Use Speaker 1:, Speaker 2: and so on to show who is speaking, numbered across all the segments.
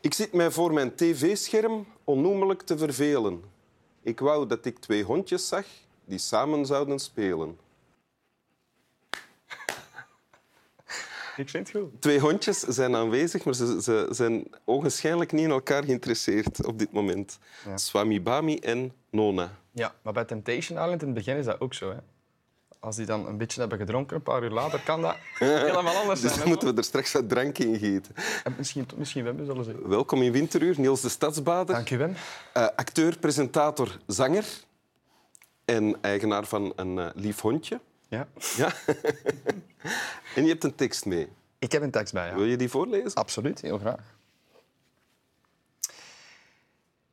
Speaker 1: Ik zit mij voor mijn tv-scherm onnoemelijk te vervelen. Ik wou dat ik twee hondjes zag die samen zouden spelen.
Speaker 2: Ik vind het goed.
Speaker 1: Twee hondjes zijn aanwezig, maar ze, ze zijn ogenschijnlijk niet in elkaar geïnteresseerd op dit moment. Swami Bami en Nona.
Speaker 2: Ja, maar bij Temptation Island in het begin is dat ook zo. Hè? Als die dan een beetje hebben gedronken, een paar uur later, kan dat helemaal
Speaker 1: Dus
Speaker 2: anders zijn.
Speaker 1: dan
Speaker 2: hè,
Speaker 1: moeten we er straks wat drank in gieten.
Speaker 2: man? En Misschien, misschien Wim zullen ze.
Speaker 1: Welkom in Winteruur, Niels de Stadsbader.
Speaker 2: Dank u, Wim.
Speaker 1: Eh, acteur, presentator, zanger. En eigenaar van een eh, lief hondje.
Speaker 2: Ja.
Speaker 1: Ja. en je hebt een tekst mee.
Speaker 2: Ik heb een tekst bij, ja.
Speaker 1: Wil je die voorlezen?
Speaker 2: Absoluut, heel graag.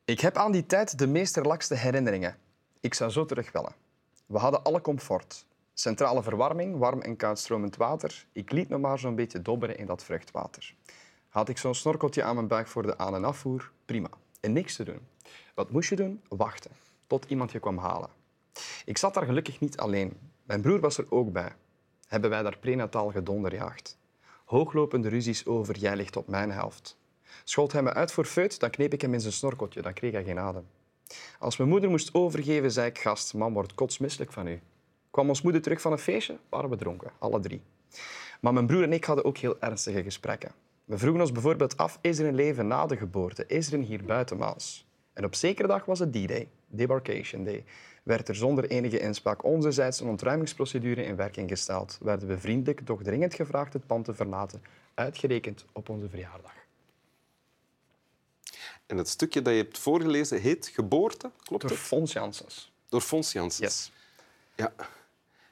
Speaker 2: Ik heb aan die tijd de meesterlakste herinneringen. Ik zou zo terug willen. We hadden alle comfort. Centrale verwarming, warm en koud stromend water. Ik liet me maar zo'n beetje dobberen in dat vruchtwater. Had ik zo'n snorkeltje aan mijn buik voor de aan- en afvoer? Prima. En niks te doen. Wat moest je doen? Wachten. Tot iemand je kwam halen. Ik zat daar gelukkig niet alleen. Mijn broer was er ook bij. Hebben wij daar prenataal gedonderjaagd. Hooglopende ruzies over jij ligt op mijn helft. Schold hij me uit voor feut, dan kneep ik hem in zijn snorkeltje, dan kreeg hij geen adem. Als mijn moeder moest overgeven, zei ik, gast, man wordt kotsmisselijk van u. Kwam ons moeder terug van een feestje, waren we dronken, alle drie. Maar mijn broer en ik hadden ook heel ernstige gesprekken. We vroegen ons bijvoorbeeld af, is er een leven na de geboorte? Is er een hier buitenmaals? En op zekere dag was het die day Debarkation Day, werd er zonder enige inspraak onzerzijds een ontruimingsprocedure in werking gesteld. Werden we vriendelijk, doch dringend gevraagd het pand te verlaten, uitgerekend op onze verjaardag.
Speaker 1: En het stukje dat je hebt voorgelezen heet Geboorte, klopt
Speaker 2: Door
Speaker 1: het?
Speaker 2: Fons Janssens.
Speaker 1: Door Fons Janssens.
Speaker 2: Yes.
Speaker 1: Ja.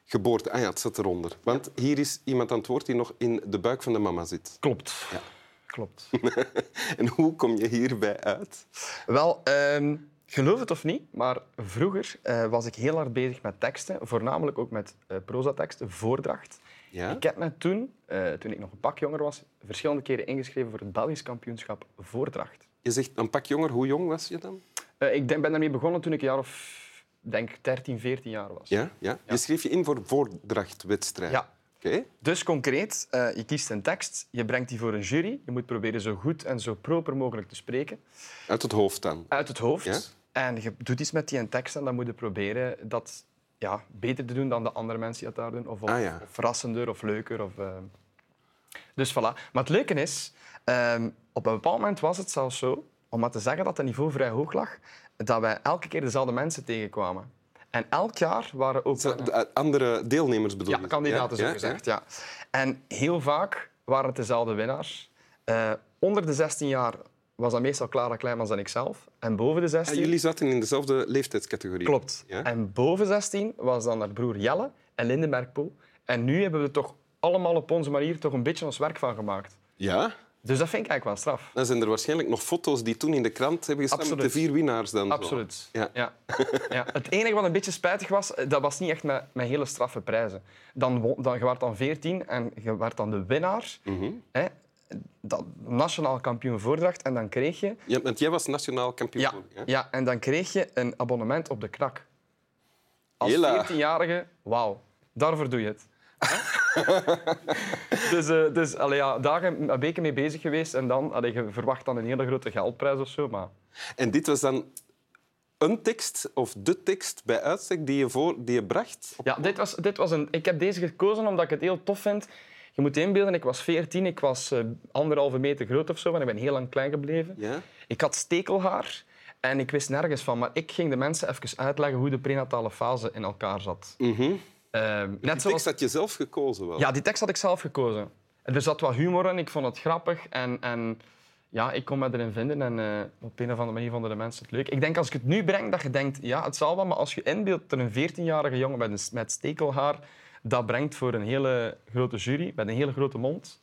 Speaker 1: Geboorte, ah ja, het zit eronder. Want hier is iemand aan het woord die nog in de buik van de mama zit.
Speaker 2: Klopt. Klopt.
Speaker 1: En hoe kom je hierbij uit?
Speaker 2: Wel, ehm, geloof het of niet, maar vroeger eh, was ik heel hard bezig met teksten, voornamelijk ook met eh proza-teksten, voordracht.
Speaker 1: Ja?
Speaker 2: Ik heb me toen, eh, toen ik nog een pak jonger was, verschillende keren ingeschreven voor het Belgisch kampioenschap voordracht.
Speaker 1: Je zegt een pak jonger, hoe jong was je dan?
Speaker 2: Eh, ik denk, ben daarmee begonnen toen ik een jaar of denk 13, 14 jaar was.
Speaker 1: Ja? ja? Je schreef je in voor voordrachtwedstrijd.
Speaker 2: Ja.
Speaker 1: Oké.
Speaker 2: Dus concreet, eh, je kiest een tekst, je brengt die voor een jury, je moet proberen zo goed en zo proper mogelijk te spreken,
Speaker 1: Uit het hoofd dan.
Speaker 2: uit het hoofd.
Speaker 1: Ja.
Speaker 2: En je doet iets met die tekst en dan moet je proberen dat ja, beter te doen dan de andere mensen die dat daar doen. Of, of,
Speaker 1: Ah, ja.
Speaker 2: of verrassender of leuker. Of, eh. Dus voilà. Maar het leuke is, ehm, op een bepaald moment was het zelfs zo, om maar te zeggen dat het niveau vrij hoog lag, dat wij elke keer dezelfde mensen tegenkwamen. En elk jaar waren ook...
Speaker 1: Zo, de, eh, Andere deelnemers bedoel
Speaker 2: Ja,
Speaker 1: je?
Speaker 2: kandidaten, zo
Speaker 1: Ja?
Speaker 2: gezegd. Ja. En heel vaak waren het dezelfde winnaars. Eh, onder de 16 jaar was dat meestal Clara Kleimans en ikzelf. En boven de
Speaker 1: Ja,
Speaker 2: 16...
Speaker 1: Ah, jullie zaten in dezelfde leeftijdscategorie.
Speaker 2: Klopt.
Speaker 1: Ja?
Speaker 2: En boven 16 was dan haar broer Jelle en Lindenberg Poel. En nu hebben we er toch allemaal op onze manier toch een beetje ons werk van gemaakt.
Speaker 1: ja?
Speaker 2: Dus dat vind ik eigenlijk wel straf.
Speaker 1: Dan zijn er waarschijnlijk nog foto's die toen in de krant hebben gestaan met
Speaker 2: Absoluut.
Speaker 1: de vier winnaars dan. zo.
Speaker 2: Absoluut.
Speaker 1: Ja.
Speaker 2: Ja. Ja. Het enige wat een beetje spijtig was, eh, dat was niet echt met, met hele straffe prijzen. Dan, won- dan, je werd dan 14 en je werd dan de winnaar. Hè, dat nationaal kampioen voordracht. En dan kreeg je...
Speaker 1: Ja, want jij was nationaal kampioen.
Speaker 2: Ja,
Speaker 1: hè?
Speaker 2: ja, en dan kreeg je een abonnement op de krak. Als
Speaker 1: Hela.
Speaker 2: 14-jarige, wauw. Daarvoor doe je het. dus eh dus allee, ja, dagen, een beetje mee bezig geweest. En dan, allee, je verwacht dan een hele grote geldprijs of zo. Maar
Speaker 1: En dit was dan een tekst of de tekst bij uitstek die je, voor, die je bracht.
Speaker 2: Ja, dit was, dit was een, ik heb deze gekozen omdat ik het heel tof vind. Je moet je inbeelden, ik was 14, ik was eh, anderhalve meter groot of zo, en ik ben heel lang klein gebleven.
Speaker 1: Ja?
Speaker 2: Ik had stekelhaar en ik wist nergens van, maar ik ging de mensen even uitleggen hoe de prenatale fase in elkaar zat. Ehm, net
Speaker 1: De Mhm. tekst
Speaker 2: zoals,
Speaker 1: had je zelf gekozen wel.
Speaker 2: ja, die tekst had ik zelf gekozen. Er zat wat humor in, ik vond het grappig en, en ja, ik kon me erin vinden en eh, op een of andere manier vonden de mensen het leuk. Ik denk als ik het nu breng, dat je denkt, ja, het zal wel, maar als je inbeeldt dat er een 14-jarige jongen met, een, s- met stekelhaar dat brengt voor een hele grote jury, met een hele grote mond,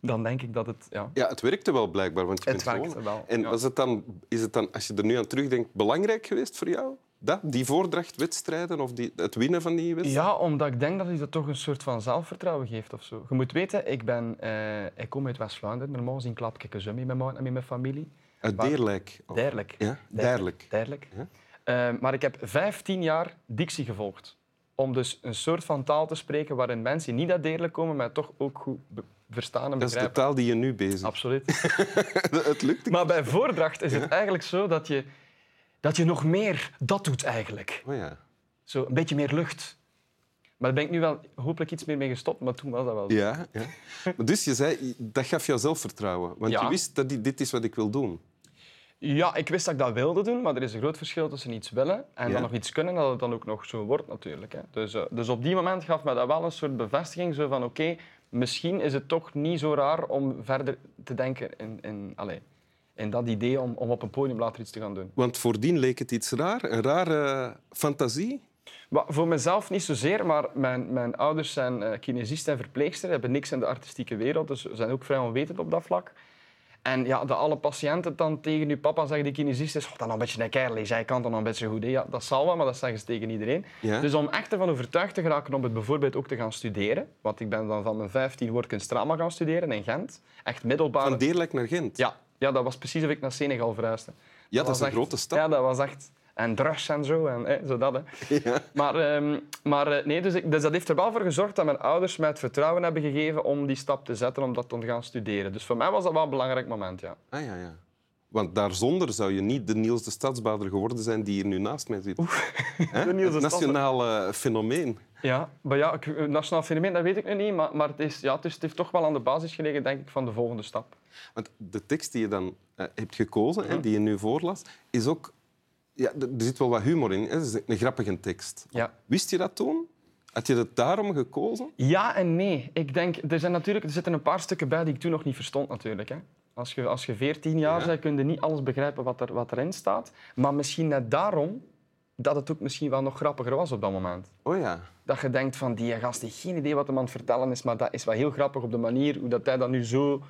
Speaker 2: dan denk ik dat het, ja,
Speaker 1: Ja, het werkte wel blijkbaar, want je
Speaker 2: het
Speaker 1: bent
Speaker 2: werkt
Speaker 1: gewonnen.
Speaker 2: wel.
Speaker 1: En
Speaker 2: ja.
Speaker 1: was het dan, is het dan, als je er nu aan terugdenkt, belangrijk geweest voor jou? Dat? Die voordrachtwedstrijden of die, het winnen van die wedstrijd?
Speaker 2: Ja, omdat ik denk dat hij dat toch een soort van zelfvertrouwen geeft of zo. Je moet weten, ik, ben, eh, ik kom uit West-Vlaanderen. Normaal gezien klap ik een zoen met mijn man en met mijn familie.
Speaker 1: Uit
Speaker 2: Waar-
Speaker 1: Deerlijk. Oh.
Speaker 2: Derlijk.
Speaker 1: Ja, Deerlijk.
Speaker 2: Duidelijk.
Speaker 1: Ja.
Speaker 2: Eh, maar ik heb 15 jaar dictie gevolgd. Om dus een soort van taal te spreken waarin mensen die niet uit Deerlijk komen, maar toch ook goed be- verstaan en
Speaker 1: Dat is de
Speaker 2: begrijpen.
Speaker 1: taal die je nu bezig
Speaker 2: Absoluut.
Speaker 1: Het lukt.
Speaker 2: Maar bij voordracht is het eigenlijk zo dat je, dat je nog meer dat doet eigenlijk.
Speaker 1: Oh ja.
Speaker 2: Zo een beetje meer lucht. Maar daar ben ik nu wel hopelijk iets meer mee gestopt, maar toen was dat wel zo.
Speaker 1: Ja, ja. Maar dus je zei, dat gaf jou zelfvertrouwen. Want
Speaker 2: Ja.
Speaker 1: je wist dat dit- dit is wat ik wil doen.
Speaker 2: Ja, ik wist dat ik dat wilde doen, maar er is een groot verschil tussen iets willen en
Speaker 1: Ja.
Speaker 2: dan nog iets kunnen, dat het dan ook nog zo wordt natuurlijk. Hè. Dus, eh, dus op die moment gaf me dat wel een soort bevestiging, zo van oké, misschien is het toch niet zo raar om verder te denken in, in, allee, in dat idee om, om op een podium later iets te gaan doen.
Speaker 1: Want voordien leek het iets raar, een rare fantasie.
Speaker 2: Maar voor mezelf niet zozeer, maar mijn, mijn ouders zijn eh, kinesisten en verpleegster, hebben niks in de artistieke wereld, dus zijn ook vrij onwetend op dat vlak. En ja, dat alle patiënten dan tegen je papa zeggen die kinesist is, oh, dan een beetje een kerel is, hij kan dan een beetje goed. hè." Ja, dat zal wel, maar dat zeggen ze tegen iedereen.
Speaker 1: Ja.
Speaker 2: Dus om echt ervan overtuigd te geraken om het bijvoorbeeld ook te gaan studeren, want ik ben dan van mijn 15 woordkunst drama gaan studeren in Gent, echt middelbare...
Speaker 1: Van Deerlijk naar Gent.
Speaker 2: Ja, ja, dat was precies of ik naar Senegal verhuisde.
Speaker 1: Ja, dat is
Speaker 2: was
Speaker 1: een
Speaker 2: echt-
Speaker 1: grote stap.
Speaker 2: Ja, dat was echt. En drugs en zo, en hè, zo dat. Hè.
Speaker 1: Ja.
Speaker 2: Maar, ehm, maar eh, nee, dus, ik, dus dat heeft er wel voor gezorgd dat mijn ouders mij het vertrouwen hebben gegeven om die stap te zetten, om dat te gaan studeren. Dus voor mij was dat wel een belangrijk moment, ja.
Speaker 1: Ah, ja, ja. Want daarzonder zou je niet de Niels de Stadsbader geworden zijn die hier nu naast mij zit. Hè?
Speaker 2: de Niels de
Speaker 1: het nationale fenomeen.
Speaker 2: Ja, maar ja, ik- eh, nationaal fenomeen, dat weet ik nu niet, maar, maar het, is, ja, het, is, het heeft toch wel aan de basis gelegen, denk ik, van de volgende stap.
Speaker 1: Want de tekst die je dan eh, hebt gekozen, hè, die je nu voorlas, is ook... Ja, d- er zit wel wat humor in. Hè? Het is een grappige tekst.
Speaker 2: Ja.
Speaker 1: Wist je dat toen? Had je dat daarom gekozen?
Speaker 2: Ja en nee. Ik denk, er, zijn natuurlijk, er zitten een paar stukken bij die ik toen nog niet verstond natuurlijk. Hè. Als je, als je 14 jaar
Speaker 1: Ja.
Speaker 2: bent, kun je niet alles begrijpen wat, er, wat erin staat. Maar misschien net daarom dat het ook misschien wel nog grappiger was op dat moment.
Speaker 1: Oh ja.
Speaker 2: Dat je denkt van, die gast heeft geen idee wat hem aan het vertellen is, maar dat is wel heel grappig op de manier hoe dat hij dat nu zo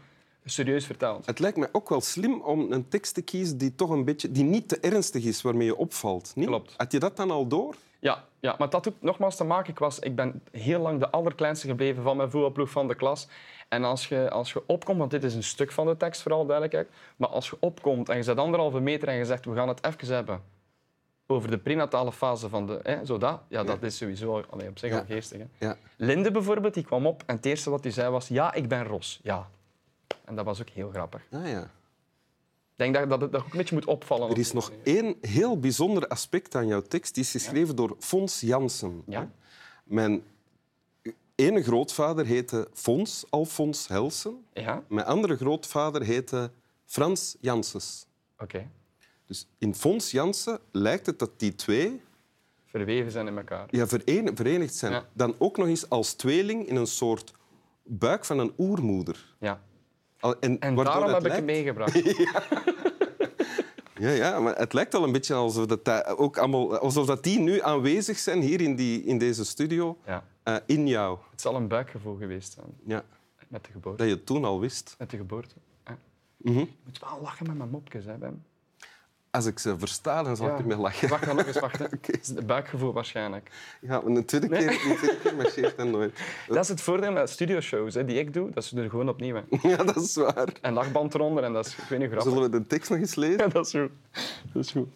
Speaker 2: serieus vertelt.
Speaker 1: Het lijkt mij ook wel slim om een tekst te kiezen die toch een beetje... die niet te ernstig is, waarmee je opvalt. Niet?
Speaker 2: Klopt.
Speaker 1: Had je dat dan al door?
Speaker 2: Ja, ja maar dat ook nogmaals te maken. Ik, was, ik ben heel lang de allerkleinste gebleven van mijn voetbalploeg van de klas. En als je, als je opkomt, want dit is een stuk van de tekst vooral duidelijkheid, maar als je opkomt en je zet anderhalve meter en je zegt we gaan het even hebben over de prenatale fase van de... Hè, zo dat, ja, dat is sowieso allee, op zich
Speaker 1: Ja.
Speaker 2: al geestig. Hè.
Speaker 1: Ja.
Speaker 2: Linde bijvoorbeeld, die kwam op en het eerste wat hij zei was ja, ik ben Ros, ja. En dat was ook heel grappig.
Speaker 1: Ah, ja.
Speaker 2: Ik denk dat dat het dat ook een beetje moet opvallen.
Speaker 1: Er is nog één heel bijzonder aspect aan jouw tekst. Die is geschreven door Fons Jansen.
Speaker 2: Ja.
Speaker 1: Mijn ene grootvader heette Fons Alfons Helsen.
Speaker 2: Ja?
Speaker 1: Mijn andere grootvader heette Frans Janssens.
Speaker 2: Oké.
Speaker 1: Dus in Fons Jansen lijkt het dat die twee
Speaker 2: Verweven zijn in elkaar.
Speaker 1: ja, vereen- verenigd zijn.
Speaker 2: Ja.
Speaker 1: Dan ook nog eens als tweeling in een soort buik van een oermoeder.
Speaker 2: Ja.
Speaker 1: Al- En,
Speaker 2: En
Speaker 1: waardoor
Speaker 2: daarom
Speaker 1: het
Speaker 2: heb ik hem
Speaker 1: lijkt-
Speaker 2: meegebracht.
Speaker 1: Ja, ja, maar het lijkt al een beetje alsof, dat dat ook allemaal, alsof dat die nu aanwezig zijn hier in, die, in deze studio,
Speaker 2: Ja.
Speaker 1: eh, in jou.
Speaker 2: Het zal een buikgevoel geweest zijn
Speaker 1: Ja,
Speaker 2: met de geboorte.
Speaker 1: dat je het toen al wist.
Speaker 2: Met de geboorte. Ja.
Speaker 1: Mhm.
Speaker 2: Je moet wel lachen met mijn mopjes, hè, Bem.
Speaker 1: Als ik ze versta, dan zal
Speaker 2: Ja.
Speaker 1: ik ermee lachen.
Speaker 2: Wacht dan nog eens, wachten. Het is het buikgevoel waarschijnlijk.
Speaker 1: Ja, maar een tweede keer, een tweede keer marcheert dat nooit.
Speaker 2: Dat is het voordeel met studioshows hè, die ik doe, dat ze er gewoon opnieuw hè.
Speaker 1: Ja, dat is waar.
Speaker 2: En lachband eronder en dat is, ik weet niet, grappig.
Speaker 1: Zullen we de tekst nog eens lezen?
Speaker 2: Ja, dat is goed. Dat is goed.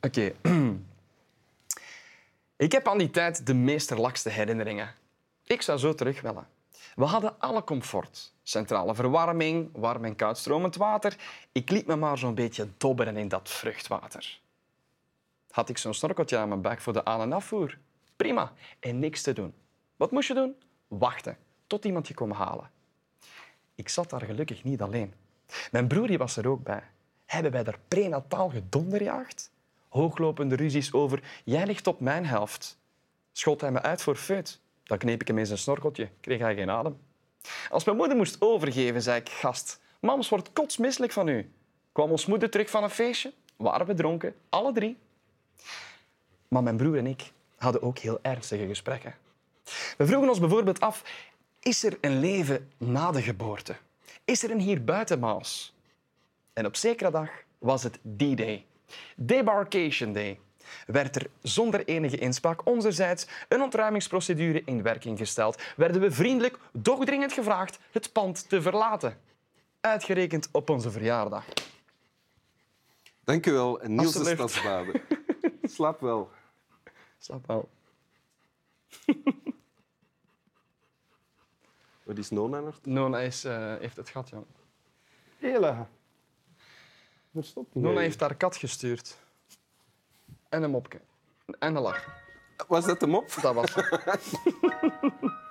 Speaker 2: Oké. ik heb aan die tijd de meesterlakste herinneringen. Ik zou zo terug willen. We hadden alle comfort. Centrale verwarming, warm en koud stromend water. Ik liet me maar zo'n beetje dobberen in dat vruchtwater. Had ik zo'n snorkeltje aan mijn bek voor de aan- en afvoer? Prima. En niks te doen. Wat moest je doen? Wachten tot iemand je kwam halen. Ik zat daar gelukkig niet alleen. Mijn broer die was er ook bij. Hebben wij daar prenataal gedonderjaagd? Hooglopende ruzies over jij ligt op mijn helft. Schold hij me uit voor feut. Dan kneep ik hem in zijn snorkeltje. Kreeg hij geen adem. Als mijn moeder moest overgeven, zei ik, gast, mams wordt kotsmisselijk van u. Kwam ons moeder terug van een feestje? Waren we dronken? Alle drie. Maar mijn broer en ik hadden ook heel ernstige gesprekken. We vroegen ons bijvoorbeeld af: is er een leven na de geboorte? Is er een hier buitenmaals? En op zekere dag was het D-Day, Debarcation Day. Werd er zonder enige inspraak onzerzijds een ontruimingsprocedure in werking gesteld, werden we vriendelijk, doch dringend gevraagd het pand te verlaten. Uitgerekend op onze verjaardag.
Speaker 1: Dank u wel, en Niels de
Speaker 2: Alsjeblieft.
Speaker 1: Stadsbader. Slaap wel.
Speaker 2: Slap wel.
Speaker 1: Wat is Nonanert?
Speaker 2: Nona is, eh, heeft het gat, ja.
Speaker 3: Hela. Daar stopt hij.
Speaker 2: Nona heeft haar kat gestuurd. En een mopje. En een lach.
Speaker 1: Was dat hem op?
Speaker 2: Dat was het.